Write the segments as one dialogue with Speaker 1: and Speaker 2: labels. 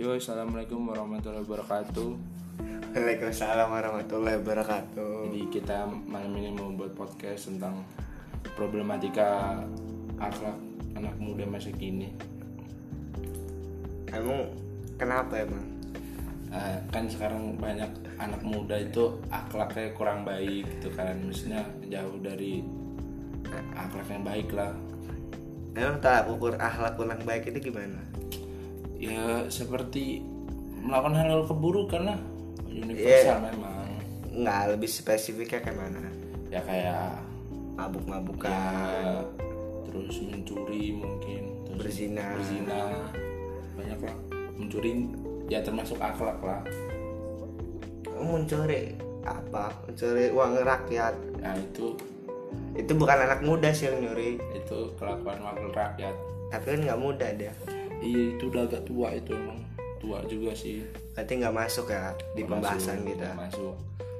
Speaker 1: Assalamualaikum warahmatullahi wabarakatuh
Speaker 2: Waalaikumsalam warahmatullahi wabarakatuh.
Speaker 1: Jadi kita malam ini mau buat podcast tentang problematika akhlak anak muda masa kini
Speaker 2: Emang kenapa emang?
Speaker 1: Eh, Kan sekarang banyak anak muda itu akhlaknya kurang baik gitu kan Maksudnya jauh dari akhlak yang baik lah
Speaker 2: Emang tak ukur akhlak orang baik itu gimana?
Speaker 1: Ya seperti melakukan hal-hal keburukan lah Universal memang
Speaker 2: Nggak lebih spesifiknya kayak mana?
Speaker 1: Ya kayak ya,
Speaker 2: Mabuk-mabukan,
Speaker 1: terus mencuri mungkin terus
Speaker 2: berzina.
Speaker 1: berzina
Speaker 2: Iya.
Speaker 1: banyak lah mencuri ya termasuk akhlak lah
Speaker 2: oh, Mencuri apa? Mencuri uang rakyat.
Speaker 1: nah itu
Speaker 2: Itu bukan anak muda sih yang nyuri,
Speaker 1: itu kelakuan wakil rakyat
Speaker 2: tapi kan nggak muda dia.
Speaker 1: iya itu udah agak tua itu emang tua juga sih
Speaker 2: Berarti nggak masuk ya di pembahasan
Speaker 1: Masuk,
Speaker 2: kita.
Speaker 1: masuk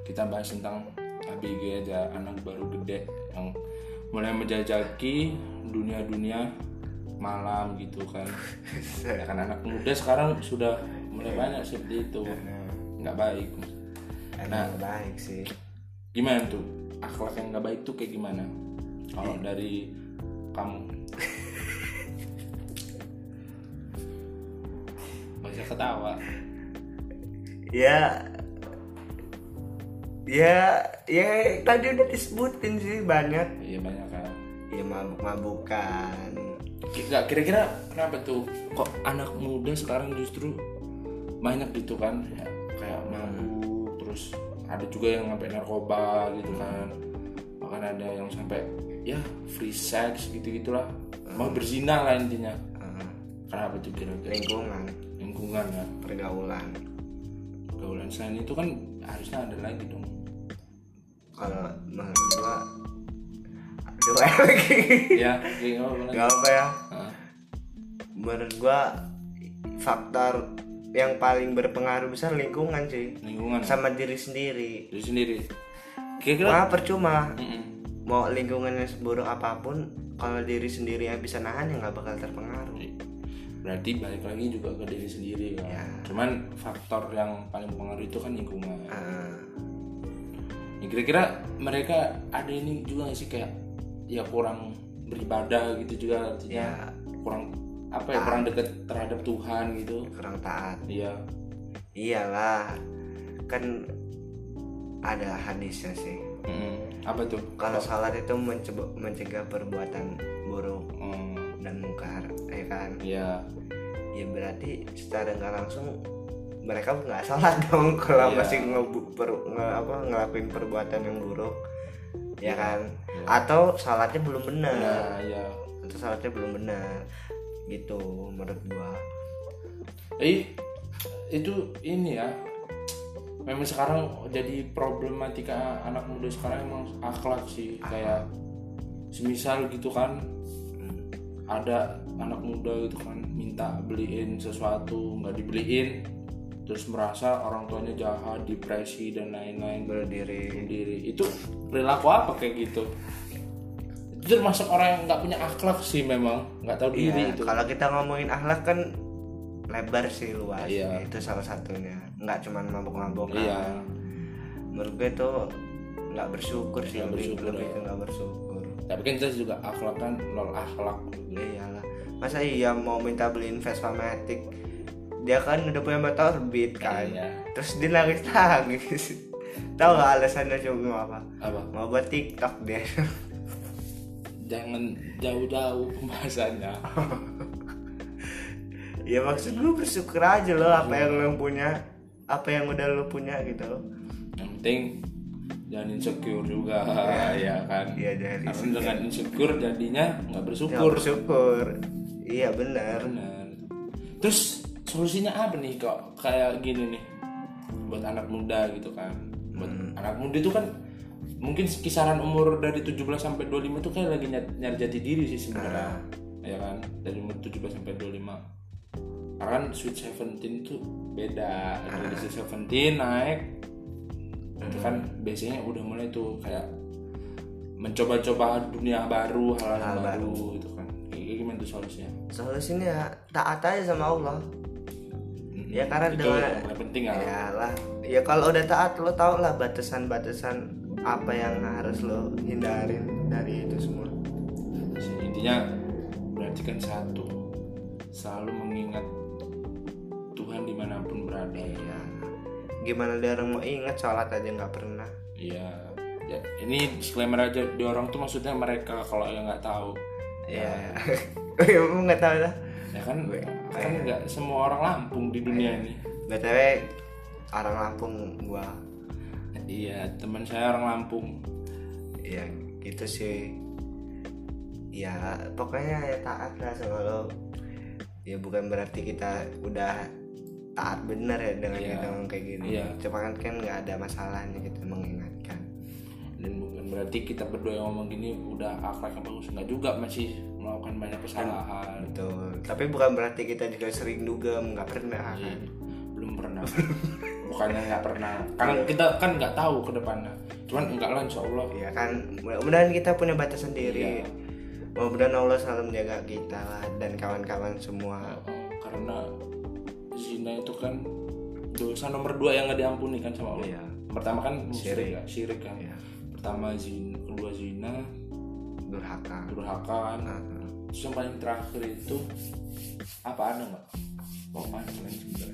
Speaker 1: kita bahas tentang ABG aja anak baru gede yang mulai menjajaki dunia-dunia malam gitu kan ya kan anak muda sekarang sudah mulai banyak seperti itu nggak baik
Speaker 2: Nah,
Speaker 1: Nah.
Speaker 2: Emang baik sih.
Speaker 1: gimana tuh akhlak yang nggak baik tuh kayak gimana kalau dari kamu bisa ketawa
Speaker 2: ya ya ya tadi udah disebutin sih banyak
Speaker 1: iya banyak kan
Speaker 2: ya mabuk-mabukan
Speaker 1: Ki- nggak kira-kira kenapa tuh kok anak muda sekarang justru banyak gitu kan ya, kayak mabuk terus ada juga yang sampai narkoba gitu kan bahkan ada yang sampai ya free sex gitu gitulah mau berzina lah intinya
Speaker 2: eh,
Speaker 1: kenapa tuh kira-kira
Speaker 2: lingkungan
Speaker 1: lingkungan ya
Speaker 2: pergaulan
Speaker 1: pergaulan selain itu kan harusnya ada lagi dong
Speaker 2: kalau menurut gua aduh apa lagi
Speaker 1: ya
Speaker 2: Iya.
Speaker 1: kayak nggak apa-apa lagi.
Speaker 2: nggak apa ya
Speaker 1: Hah?
Speaker 2: menurut gua faktor yang paling berpengaruh besar lingkungan sih
Speaker 1: lingkungan ya?
Speaker 2: sama diri sendiri
Speaker 1: Diri sendiri kira-kira
Speaker 2: wah percuma
Speaker 1: Mm-mm.
Speaker 2: mau lingkungannya seburuk apapun kalau diri sendiri yang bisa nahan ya nggak bakal terpengaruh
Speaker 1: berarti balik lagi juga ke diri sendiri kan
Speaker 2: Ya.
Speaker 1: cuman faktor yang paling pengaruh itu kan lingkungan
Speaker 2: Eh,
Speaker 1: Ya, kira-kira mereka ada ini juga nggak sih kayak ya kurang beribadah gitu juga artinya
Speaker 2: ya Ah.
Speaker 1: kurang apa ya kurang dekat terhadap Tuhan gitu
Speaker 2: kurang taat
Speaker 1: iya
Speaker 2: iyalah kan ada hadisnya sih
Speaker 1: Mm-mm. apa tuh
Speaker 2: kalau salat itu menceba- mencegah perbuatan buruk
Speaker 1: Mm,
Speaker 2: dan mungkar ya kan
Speaker 1: iya
Speaker 2: ya berarti secara nggak langsung mereka nggak salah dong kalau
Speaker 1: Iya.
Speaker 2: masih ngebu- per- nge- apa, ngelakuin perbuatan yang buruk ya kan
Speaker 1: Iya.
Speaker 2: atau salatnya belum benar
Speaker 1: nah iya
Speaker 2: atau salatnya belum benar gitu menurut gua
Speaker 1: Eh, itu ini ya. Memang sekarang jadi problematika anak muda sekarang emang akhlak sih kayak semisal gitu kan
Speaker 2: Hmm.
Speaker 1: ada anak muda gitu kan minta beliin sesuatu nggak dibeliin terus merasa orang tuanya jahat depresi dan lain-lain
Speaker 2: bunuh diri
Speaker 1: sendiri itu perilaku apa kayak gitu itu termasuk orang yang nggak punya akhlak sih memang nggak tahu diri
Speaker 2: Iya,
Speaker 1: itu
Speaker 2: kalau kita ngomongin akhlak kan lebar sih luas
Speaker 1: Iya.
Speaker 2: itu salah satunya nggak cuman mabuk-mabuk
Speaker 1: iya
Speaker 2: menurut gue itu nggak bersyukur sih
Speaker 1: Nggak
Speaker 2: lebih
Speaker 1: bersyukur,
Speaker 2: lebih
Speaker 1: ya.
Speaker 2: ke nggak bersyukur
Speaker 1: tapi kan kita juga akhlak kan nol akhlak
Speaker 2: Ya iyalah masa iya mau minta beliin Vespa Matic dia kan udah punya motor beat kan
Speaker 1: Iya.
Speaker 2: terus dia nangis nangis tahu nggak alasannya cuma apa
Speaker 1: apa
Speaker 2: mau buat TikTok dia
Speaker 1: jangan jauh-jauh pembahasannya
Speaker 2: ya maksud lu bersyukur aja loh apa
Speaker 1: Iya.
Speaker 2: yang lu punya apa yang udah lu punya gitu
Speaker 1: yang penting jangan insecure juga ya kan
Speaker 2: Iya, jangan
Speaker 1: Karena dengan insecure jadinya nggak
Speaker 2: Ya,
Speaker 1: bersyukur
Speaker 2: bersyukur iya benar
Speaker 1: benar terus solusinya apa nih kok kayak gini nih buat anak muda gitu kan buat anak muda itu kan mungkin kisaran umur dari 17 sampai 25 itu kayak lagi nyat- nyari jati diri sih sebenarnya ya kan dari umur 17 sampai 25 karena kan sweet 17 tuh beda dari sweet 17 naik itu kan biasanya udah mulai tuh kayak mencoba-coba dunia baru hal-hal
Speaker 2: Hal
Speaker 1: baru, gitu
Speaker 2: ya,
Speaker 1: itu kan kayak gimana tuh solusinya
Speaker 2: solusinya taat aja sama Allah ya karena
Speaker 1: Hmm, itu
Speaker 2: dengan
Speaker 1: yang paling penting Al.
Speaker 2: ya lah ya kalau udah taat lo tau lah batasan-batasan apa yang harus lo hindarin dari itu semua
Speaker 1: intinya berarti kan satu selalu mengingat Tuhan dimanapun berada
Speaker 2: iya gimana dia orang mau inget sholat aja nggak pernah
Speaker 1: Iya. Ya, ini disclaimer aja di orang tuh maksudnya mereka kalau yang nggak tahu. Iya.
Speaker 2: ya emang nggak tahu lah
Speaker 1: Ya kan
Speaker 2: Iya.
Speaker 1: kan nggak semua orang Lampung di dunia ini.
Speaker 2: btw orang Lampung gua
Speaker 1: Iya, teman saya orang Lampung.
Speaker 2: ya gitu sih ya pokoknya ya taat lah sama lo ya bukan berarti kita udah taat bener ya dengan
Speaker 1: Iya.
Speaker 2: kita ngomong kayak gini
Speaker 1: Iya.
Speaker 2: cuma kan kan nggak ada masalahnya kita mengingatkan
Speaker 1: Dan bukan berarti kita berdua yang ngomong gini udah akhlak yang bagus nggak juga masih melakukan banyak kesalahan.
Speaker 2: betul tapi bukan berarti kita juga sering dugem nggak pernah
Speaker 1: Iya.
Speaker 2: kan
Speaker 1: Belum pernah. Bukannya nggak pernah.
Speaker 2: Iya.
Speaker 1: Karena kita kan nggak tahu ke depannya. Cuman enggak lah insya Allah.
Speaker 2: ya kan mudah-mudahan kita punya batas
Speaker 1: Iya.
Speaker 2: sendiri mudah-mudahan Allah selalu menjaga kita lah dan kawan-kawan semua
Speaker 1: Oh, karena zina itu kan dosa nomor dua yang nggak diampuni kan sama Allah.
Speaker 2: Iya.
Speaker 1: Pertama kan
Speaker 2: Syirik.
Speaker 1: syirik, kan? syirik kan.
Speaker 2: Iya.
Speaker 1: Pertama zina, kedua zina,
Speaker 2: durhaka
Speaker 1: durhaka kan.
Speaker 2: Iya.
Speaker 1: Terus yang paling terakhir itu apa ada nggak? Oh, apaan selain zina?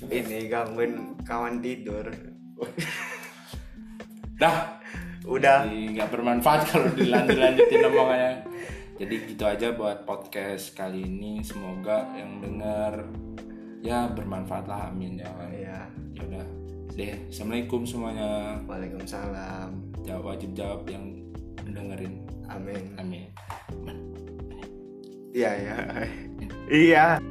Speaker 2: ini gangguin kawan tidur
Speaker 1: Dah,
Speaker 2: udah
Speaker 1: Jadi nggak bermanfaat kalau dilanjut-lanjutin omongannya. Jadi gitu aja buat podcast kali ini. Semoga yang dengar ya bermanfaat lah. Amin ya. kan.
Speaker 2: ya
Speaker 1: ya udah deh assalamualaikum semuanya
Speaker 2: Waalaikumsalam
Speaker 1: jawab wajib jawab yang dengerin
Speaker 2: amin
Speaker 1: amin
Speaker 2: iya ya iya